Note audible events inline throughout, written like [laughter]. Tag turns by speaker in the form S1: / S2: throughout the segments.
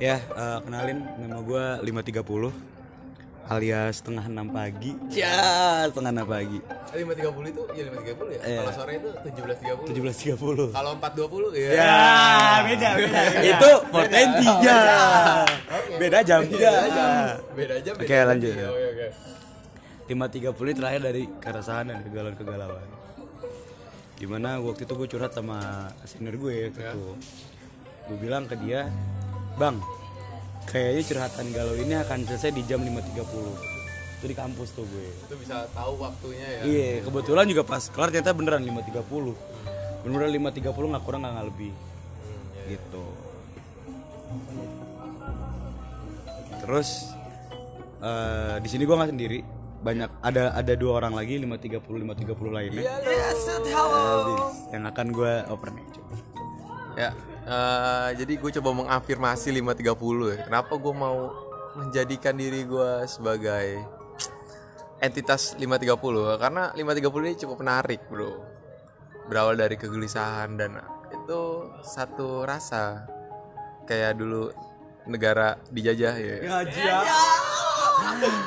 S1: Ya, eh, kenalin nama gue 530 alias setengah 6 pagi. Ya, setengah 6 pagi.
S2: lima tiga puluh itu ya lima tiga puluh ya kalau sore itu tujuh belas tiga puluh
S1: 17.30.
S2: kalau empat dua puluh ya
S1: Ya,
S3: beda, beda,
S1: Itu potensi tiga. Beda jam.
S2: beda aja beda aja beda
S1: Oke,
S2: aja.
S1: lanjut. ya.
S2: oke oke
S1: Lima tiga puluh terakhir dari keresahan dan kegalauan kegalauan. Dimana waktu itu gue curhat sama senior gue waktu itu. Gue bilang ke dia, bang, kayaknya curhatan galau ini akan selesai di jam 5.30 Itu di kampus tuh gue.
S2: itu bisa tahu waktunya ya
S1: Iya, kebetulan juga pas kelar ternyata beneran 5.30. Beneran 5.30 nggak kurang nggak nggak lebih. Gitu. Terus eh, di sini gua nggak sendiri. Banyak ada ada dua orang lagi 5.30 5.30 lainnya.
S2: Iya.
S1: Habis. Yang akan gua oper nih coba.
S2: Ya, eh, jadi gue coba mengafirmasi 530 ya. Kenapa gue mau menjadikan diri gue sebagai entitas 530? Karena 530 ini cukup menarik, bro. Berawal dari kegelisahan dan itu satu rasa kayak dulu negara dijajah ya.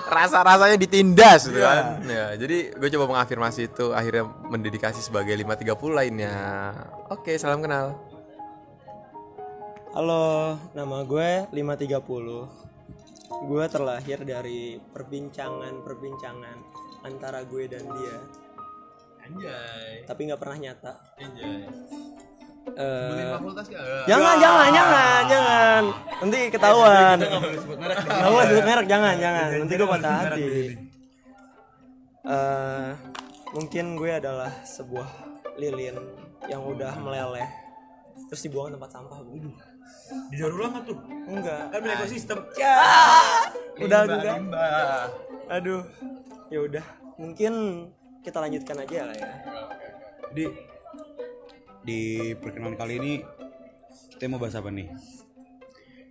S2: Rasa-rasanya ditindas gitu kan. Ya, jadi gue coba mengafirmasi itu akhirnya mendedikasi sebagai 530 lainnya. Oke, salam kenal.
S3: Halo, nama gue 530. Gue terlahir dari perbincangan-perbincangan antara gue dan dia,
S2: Anjay,
S3: tapi nggak pernah nyata.
S2: anjay.
S3: Eh,
S2: Beliin fakultas gak?
S3: jangan, jangan, jangan, jangan. Nanti ketahuan. Nggak boleh sebut merek, jangan, jangan. Nanti gue patah hati. Eh, mungkin gue adalah sebuah lilin yang udah meleleh terus dibuang ke tempat sampah bu
S1: Didaur ulang tuh?
S3: enggak [laughs]
S1: ekosistem.
S3: udah udah aduh ya udah mungkin kita lanjutkan aja lah ya
S1: Jadi di perkenalan kali ini kita mau bahas apa nih?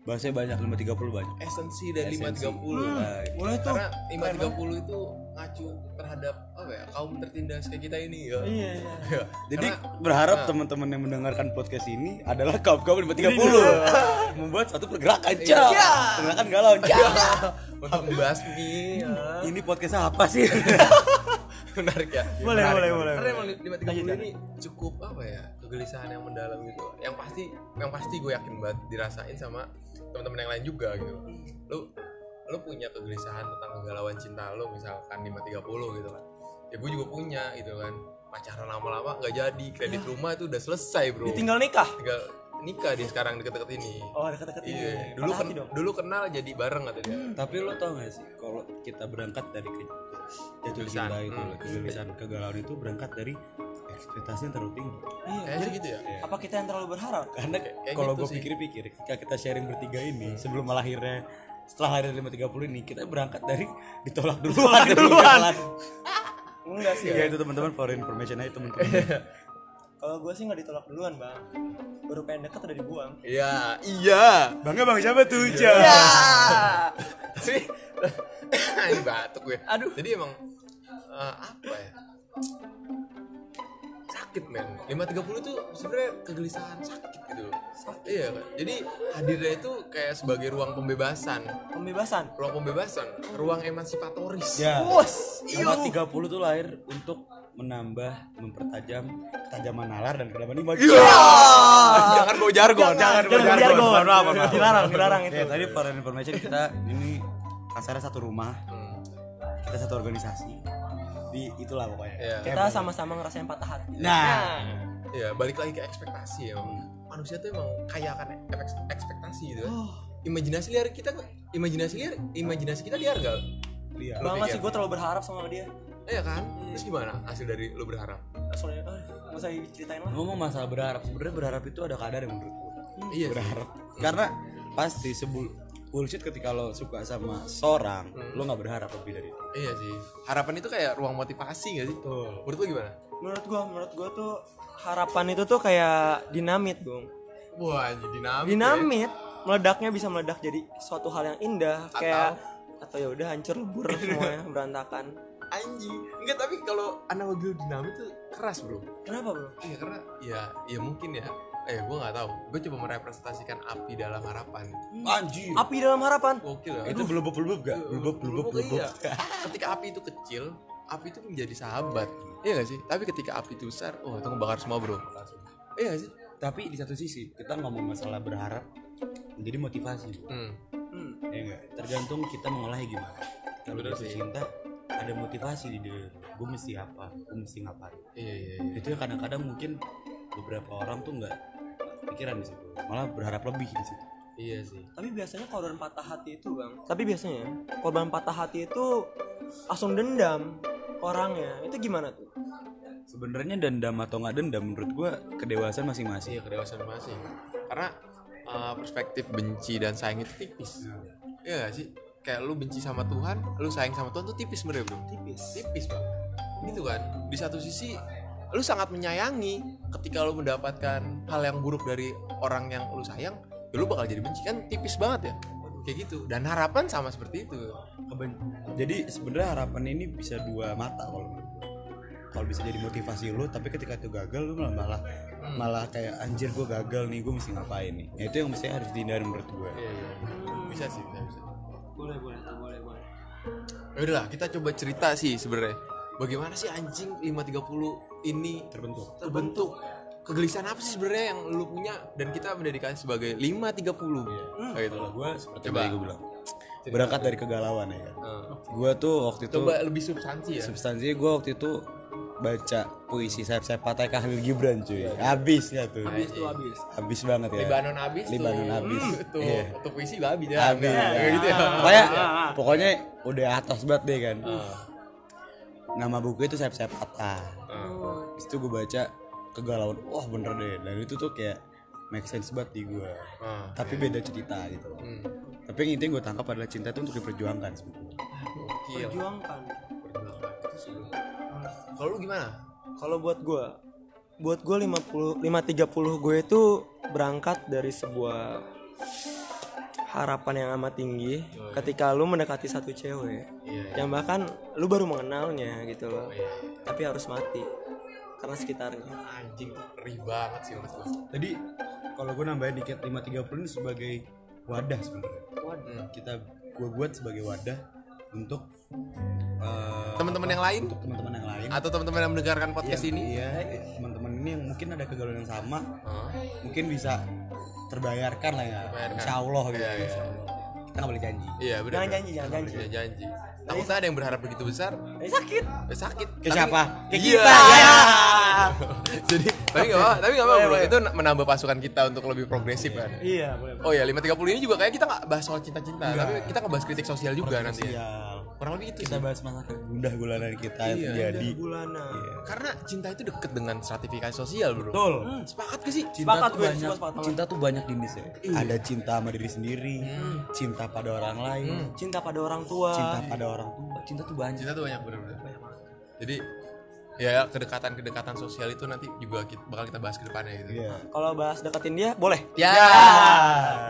S1: Bahasnya banyak 5.30 banyak.
S2: Esensi dari
S3: Hmm,
S2: 530
S1: Nah,
S3: boleh
S2: Karena 530 itu ngacu terhadap apa ya kaum tertindas kayak kita ini ya. [laughs]
S3: iya iya
S2: Ya,
S1: Jadi berharap teman-teman yang mendengarkan podcast ini Iya. adalah kaum kaum 530 [laughs] membuat satu pergerakan cah. Pergerakan galau cah. [laughs]
S2: Untuk membasmi ya.
S1: Ini podcastnya apa sih?
S2: Menarik ya.
S3: boleh boleh boleh
S2: Karena emang 530 ini cukup apa ya kegelisahan yang mendalam gitu. Yang pasti yang pasti gue yakin banget dirasain sama teman-teman yang lain juga gitu. Lu lu punya kegelisahan tentang kegalauan cinta lu misalkan 530 gitu kan. Ya gue juga punya gitu kan. Pacaran lama-lama nggak jadi, kredit rumah itu udah selesai, Bro.
S3: ditinggal nikah
S2: Tinggal nikah dia sekarang deket-deket ini.
S3: oh deket-deket ini
S2: Iya, dulu
S3: Patah
S2: ken-
S3: hati dong
S2: dulu kenal jadi bareng katanya.
S1: [laughs] Tapi lo tau gak sih kalau kita berangkat dari ke gitu jatuh
S2: Kegelisahan.
S1: cinta itu,
S2: Hmm.
S1: kegelisahan kegalauan itu berangkat dari ekspektasi yang terlalu tinggi.
S3: iya
S2: Kayaknya sih gitu ya.
S3: apa kita yang terlalu berharap
S1: Karena
S2: kayak
S1: kalau
S2: gitu
S1: gue
S2: sih.
S1: pikir-pikir ketika kita sharing bertiga ini sebelum lahirnya setelah lahir 530 ini kita berangkat dari [laughs] ditolak duluan duluan.
S3: enggak sih
S1: Ya itu teman-teman for information aja teman-teman.
S3: kalau gue sih nggak ditolak duluan bang baru pengen deket udah dibuang
S2: Iya, iya.
S1: [laughs] Bangga bang siapa tuh Uca?
S2: Tapi [laughs] ini batuk gue. Aduh. Jadi emang eh, apa ya? Sakit men. 530 tuh sebenarnya kegelisahan sakit gitu loh. Iya kan. Jadi hadirnya itu kayak sebagai ruang pembebasan,
S3: pembebasan
S2: ruang pembebasan, ruang emansipatoris.
S1: Ya.
S3: Wus,
S1: Nomor 30 tuh lahir untuk menambah, mempertajam ketajaman nalar dan kedalaman iman.
S2: Jangan bawa jargon.
S1: Jangan
S3: jangan
S1: berjargon.
S3: berjargon.
S1: Mohon maaf, mohon maaf.
S3: Dilarang, dilarang itu.
S1: Ya, Iya. tadi for your information kita ini kasarnya satu rumah,
S2: Hmm,
S1: kita satu organisasi. Di itulah pokoknya.
S2: Iya.
S3: kita sama-sama ngerasain patah hati
S1: Nah,
S2: ya balik lagi ke ekspektasi ya emang. manusia tuh emang kaya akan ek- ekspektasi gitu kan imajinasi liar kita imajinasi liar imajinasi kita liar gak
S1: lihat.
S2: Lu
S3: banget
S2: pikir.
S3: sih gue terlalu berharap sama dia
S2: iya kan Hmm. terus gimana hasil dari lu berharap
S3: soalnya ah, nggak usah diceritain lah
S1: ngomong masalah berharap sebenarnya berharap itu ada kadar yang menurut gue
S2: iya sih.
S1: berharap karena pasti sebul bullshit ketika lo suka sama seorang lo nggak berharap lebih dari itu
S2: iya sih harapan itu kayak ruang motivasi gak sih menurut lu gimana
S3: menurut gue menurut gue tuh harapan itu tuh kayak dinamit bung
S2: wah anjir dinamik ya.
S3: dinamit meledaknya bisa meledak jadi suatu hal yang indah kayak atau ya udah hancur [laughs] lebur semuanya berantakan
S2: ya. anjir enggak tapi kalau analogi lu dinamit tuh keras bro
S3: kenapa bro
S2: iya karena ya ya mungkin ya eh gue nggak tahu gue coba merepresentasikan api dalam harapan
S1: Anjir.
S3: Api dalam harapan.
S2: gokil ya
S1: Itu belum belum gak? Belum belum
S2: Blubub,
S1: belum.
S2: iya. ketika api itu kecil api itu menjadi sahabat iya gak sih tapi ketika api itu besar wah itu ngebakar semua bro iya gak sih
S1: Tapi di satu sisi kita ngomong masalah berharap menjadi motivasi.
S2: hmm.
S1: Ya enggak, tergantung kita mengolahnya gimana. Kalau
S2: Bener
S1: jatuh
S2: sih.
S1: cinta ada motivasi di dalam. Gue mesti apa? Gue mesti ngapain?
S2: iya iya iya
S1: Itu yang kadang-kadang mungkin beberapa orang tuh nggak pikiran di situ. Malah berharap lebih di situ.
S2: iya sih
S3: Tapi biasanya korban patah hati itu bang. Tapi biasanya ya, korban patah hati itu langsung dendam orangnya. Itu gimana tuh?
S1: Sebenarnya dendam atau nggak dendam menurut gue kedewasaan
S2: iya
S1: masing-masing.
S2: kedewasaan masing karena uh, perspektif benci dan sayang itu tipis
S1: Nah,
S2: iya gak sih kayak lu benci sama Tuhan lu sayang sama Tuhan tuh tipis sebenarnya bro
S3: Tipis.
S2: tipis pak gitu kan di satu sisi lu sangat menyayangi ketika lu mendapatkan hal yang buruk dari orang yang lu sayang ya lu bakal jadi benci kan tipis banget ya kayak gitu dan harapan sama seperti itu
S1: Keben- Jadi sebenarnya harapan ini bisa dua mata kalau menurut gua. kalau bisa jadi motivasi lu tapi ketika itu gagal lu malah malah,
S2: Hmm.
S1: malah kayak anjir gue gagal nih gue mesti ngapain nih Ya, itu yang mesti harus dihindari menurut gue
S2: Iya. bisa sih bisa bisa
S3: Boleh boleh tuh boleh boleh.
S2: Ya udah lah kita coba cerita sih sebenarnya bagaimana sih anjing 530 ini
S1: terbentuk
S2: terbentuk kegelisahan apa sih sebenarnya yang lu punya dan kita mendirikan sebagai 530
S1: Iya.
S2: ya kayak gitu
S1: Kalau gue seperti
S2: Coba.
S1: yang gue bilang berangkat dari kegalauan ya.
S2: Eh,
S1: Gue tuh waktu itu
S2: coba lebih substansi ya
S1: substansinya gue waktu itu baca puisi saya saya patai Khalil Gibran cuy. Habis ya tuh.
S3: Habis tuh habis.
S1: Habis banget ya.
S2: Libanon habis tuh.
S1: Libanon habis.
S2: Hmm, tuh
S1: Iya.
S2: tuh puisi juga habis ya
S1: Habis. iya.
S2: Kayak gitu ya
S1: Pokoknya, pokoknya udah atas banget deh kan.
S2: Ah.
S1: Nama buku itu saya saya patah.
S2: Ah,
S1: Habis itu gue baca kegalauan. Wah bener deh. Dan itu tuh kayak make sense banget di gue.
S2: Ah,
S1: Tapi beda cerita gitu. loh.
S2: Hmm.
S1: Tapi yang intinya gue tangkap adalah cinta itu untuk diperjuangkan sebetulnya.
S2: Gokil.
S3: Perjuangkan.
S2: Itu sih, bro. Kalau lu gimana?
S3: Kalau buat gue, buat gue 50 530 gue itu berangkat dari sebuah harapan yang amat tinggi ketika lu mendekati satu cewek
S2: Iya,
S3: yang bahkan lu baru mengenalnya gitu
S1: Oh,
S3: loh.
S1: iya,
S3: Tapi harus mati karena sekitarnya.
S2: Anjing tuh perih banget sih mas gua.
S1: Tadi kalau gue nambahin dikit 530 ini sebagai wadah sebenarnya.
S2: Hmm.
S1: Kita gue buat sebagai wadah untuk eh,
S2: Teman-teman yang lain
S1: untuk teman-teman yang lain.
S2: atau teman-teman yang mendengarkan podcast ini?
S1: Iya, teman-teman ini yang mungkin ada kegalauan yang sama,
S2: Hah?
S1: mungkin bisa terbayarkan lah ya.
S2: Terbayarkan.
S1: Insya Allah gitu.
S2: Iya, iya.
S1: Insya Allah. Kita nggak boleh janji.
S2: Iya benar.
S3: Jangan
S2: benar.
S3: janji, jangan janji.
S2: Jangan janji. Takutnya ada yang berharap begitu besar,
S3: Eh, sakit.
S2: eh, sakit.
S1: Ke
S2: Tapi-
S1: siapa? Ke
S2: Iya.
S1: kita. Ya.
S2: [laughs] Jadi tapi nggak apa, tapi nggak apa bro. Itu menambah pasukan kita untuk lebih progresif kan.
S3: Iya, boleh.
S2: Oh ya 530 ini juga kayak kita nggak bahas soal cinta-cinta, tapi kita ngebahas kritik sosial juga nanti. ya.
S1: Sial.
S2: Kurang lebih itu
S1: Kita
S2: sih.
S1: bahas masalah kegundah gulanan kita yang
S2: Iya,
S1: terjadi.
S3: Bulana.
S1: Iya.
S2: Karena cinta itu deket dengan stratifikasi sosial, Bro. Hmm,
S1: Betul.
S2: Sepakat gak sih?
S1: Cinta
S3: Sepakat
S1: tuh
S3: gue,
S1: banyak,
S3: semua sepakat. Iya.
S1: cinta tuh banyak jenis ya. Ada cinta sama diri sendiri,
S3: Hmm.
S1: cinta pada orang lain,
S3: Cinta pada orang tua.
S1: cinta pada orang tua. Cinta tuh banyak.
S2: Cinta tuh banyak bener-bener. Jadi ya kedekatan-kedekatan sosial itu nanti juga kita, bakal kita bahas ke depannya gitu.
S1: Iya.
S3: Kalau bahas deketin dia, boleh.
S2: Ya.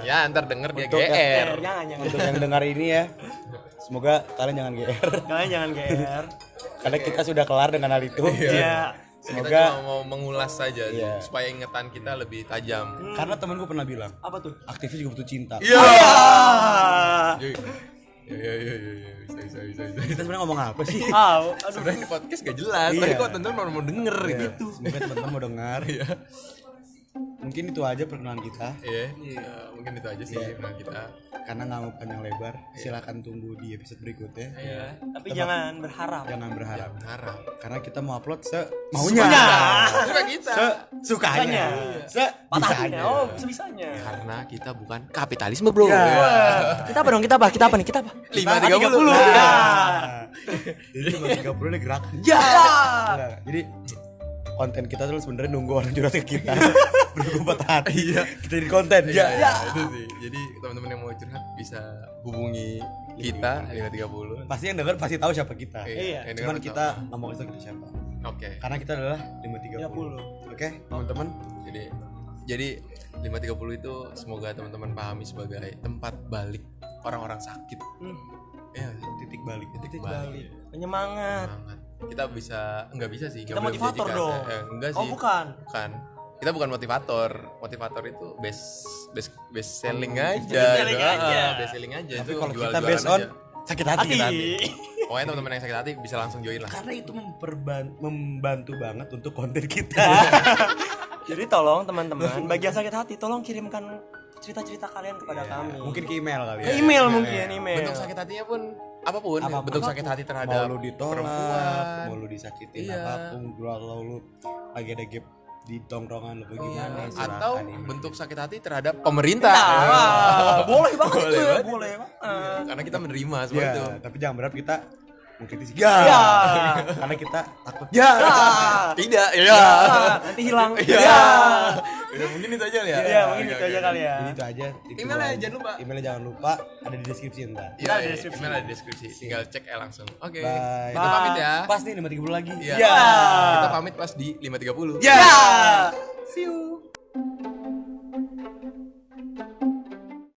S2: Ya, ntar denger dia
S1: Untuk
S2: GR.
S3: Eh, jangan jangan.
S1: Untuk yang dengar ini ya, semoga kalian jangan GR.
S3: [laughs] Kalian jangan GR.
S1: Karena kita sudah kelar dengan hal itu.
S3: Iya.
S2: Kita
S1: Semoga
S2: cuma mau mengulas saja sih,
S1: Iya.
S2: supaya ingetan kita lebih tajam.
S3: Hmm.
S1: karena temen gue pernah bilang,
S3: Apa tuh?
S1: aktivis juga butuh cinta.
S2: Iya.
S3: Ah.
S2: Iya. Iya iya iya iya bisa bisa bisa. bisa.
S1: Kita sebenarnya ngomong apa sih?
S3: Au, aduh.
S2: Sebenarnya di podcast gak jelas,
S1: Iya.
S2: tapi kok tentu mau mau denger gitu.
S1: Semoga teman-teman mau dengar.
S3: Iya.
S1: Mungkin itu aja perkenalan kita.
S2: Iya. Eh, mungkin itu aja sih
S1: Iya.
S2: menurut kita.
S1: Karena nggak panjang lebar, silahkan tunggu di episode berikutnya.
S2: Iya.
S3: Tapi jangan berharap.
S1: Jangan berharap.
S2: Harap.
S1: Karena kita mau upload se maunya.
S2: Suka kita.
S1: Iya. Se sukanya. Se
S3: Patahnya.
S1: bisanya.
S3: Oh, sebisanya.
S2: Karena kita bukan kapitalisme, Bro.
S1: Iya.
S2: Iya.
S3: Kita apa dong? Kita apa? Kita apa nih? Kita apa?
S2: Lima tiga puluh. [laughs]
S1: Nah. Jadi cuma 30 ini gerak.
S2: Iya.
S3: Ya.
S1: Nah, Jadi konten kita tuh sebenarnya nunggu orang curhat ke kita. Nunggu patah hati. Kita jadi konten.
S2: Iya,
S1: Ya.
S2: iya, itu sih. Jadi teman-teman yang mau curhat bisa hubungi kita lima tiga puluh.
S1: Pasti yang denger pasti tahu siapa kita.
S2: Iya. Yang
S1: Cuman
S2: denger
S1: kita nggak mau kasih tau kita siapa.
S2: Oke,
S1: Karena kita adalah
S3: Ya,
S1: 530. Oke?
S2: teman-teman. Jadi jadi 530 itu semoga teman-teman pahami sebagai tempat balik orang-orang sakit. Iya,
S1: Titik balik. Titik
S2: balik.
S3: Penyemangat.
S2: Semangat. Kita bisa nggak bisa sih? nggak
S3: Kita
S2: boleh
S3: motivator
S2: menjadikan-
S3: dong.
S2: Eh, eh, enggak sih.
S3: Oh, bukan.
S2: Bukan. kita bukan motivator motivator itu best best best selling aja gitu. aja best selling aja itu
S1: Kalau
S2: jual
S1: kita based on sakit hati.
S2: sakit hati pokoknya teman-teman yang sakit hati bisa langsung join lah
S1: Karena itu memperban- membantu banget untuk konten kita.
S3: Iya, Jadi tolong
S2: [laughs]
S3: teman-teman bagi yang sakit hati tolong kirimkan cerita-cerita kalian
S2: Iya.
S3: kepada kami.
S4: Mungkin ke email kali
S3: ke
S4: ya.
S3: email mungkin email.
S2: bentuk sakit hatinya pun apapun, bentuk sakit hati terhadap
S1: mau lu ditolak, mau lu disakitin
S2: Iya.
S1: apapun, kalau lu lagi ada gap di tongkrongan lu
S3: Iya,
S1: bagaimana
S2: atau bentuk sakit hati terhadap pemerintah [laughs]
S3: Ah, Nah, boleh banget
S2: Boleh
S3: tuh ya,
S2: banget.
S3: boleh banget.
S2: Iya, karena kita menerima semua
S1: ya,
S2: itu Iya.
S1: tapi jangan berharap kita mengkritisi
S3: Ya.
S1: karena kita takut
S2: ya [laughs] tidak ya
S3: Ah, nanti hilang.
S2: ya
S3: Ya.
S2: Udah, mungkin itu aja ya
S3: Ya, mungkin
S2: Oke,
S3: itu
S2: oke,
S3: aja
S2: oke.
S3: kali ya.
S1: Jadi itu aja tips
S2: Iya. Emailnya
S1: doang.
S2: jangan lupa.
S1: emailnya jangan lupa ada di deskripsi ntar
S2: Iya, iya, email ada di deskripsi. Tinggal cek aja langsung. Oke.
S1: Bye.
S2: Kita pamit ya.
S1: pas nih 5.30 lagi
S2: Iya.
S3: Ya.
S2: Kita pamit pas di 5.30.
S3: Ya. Iya. See you.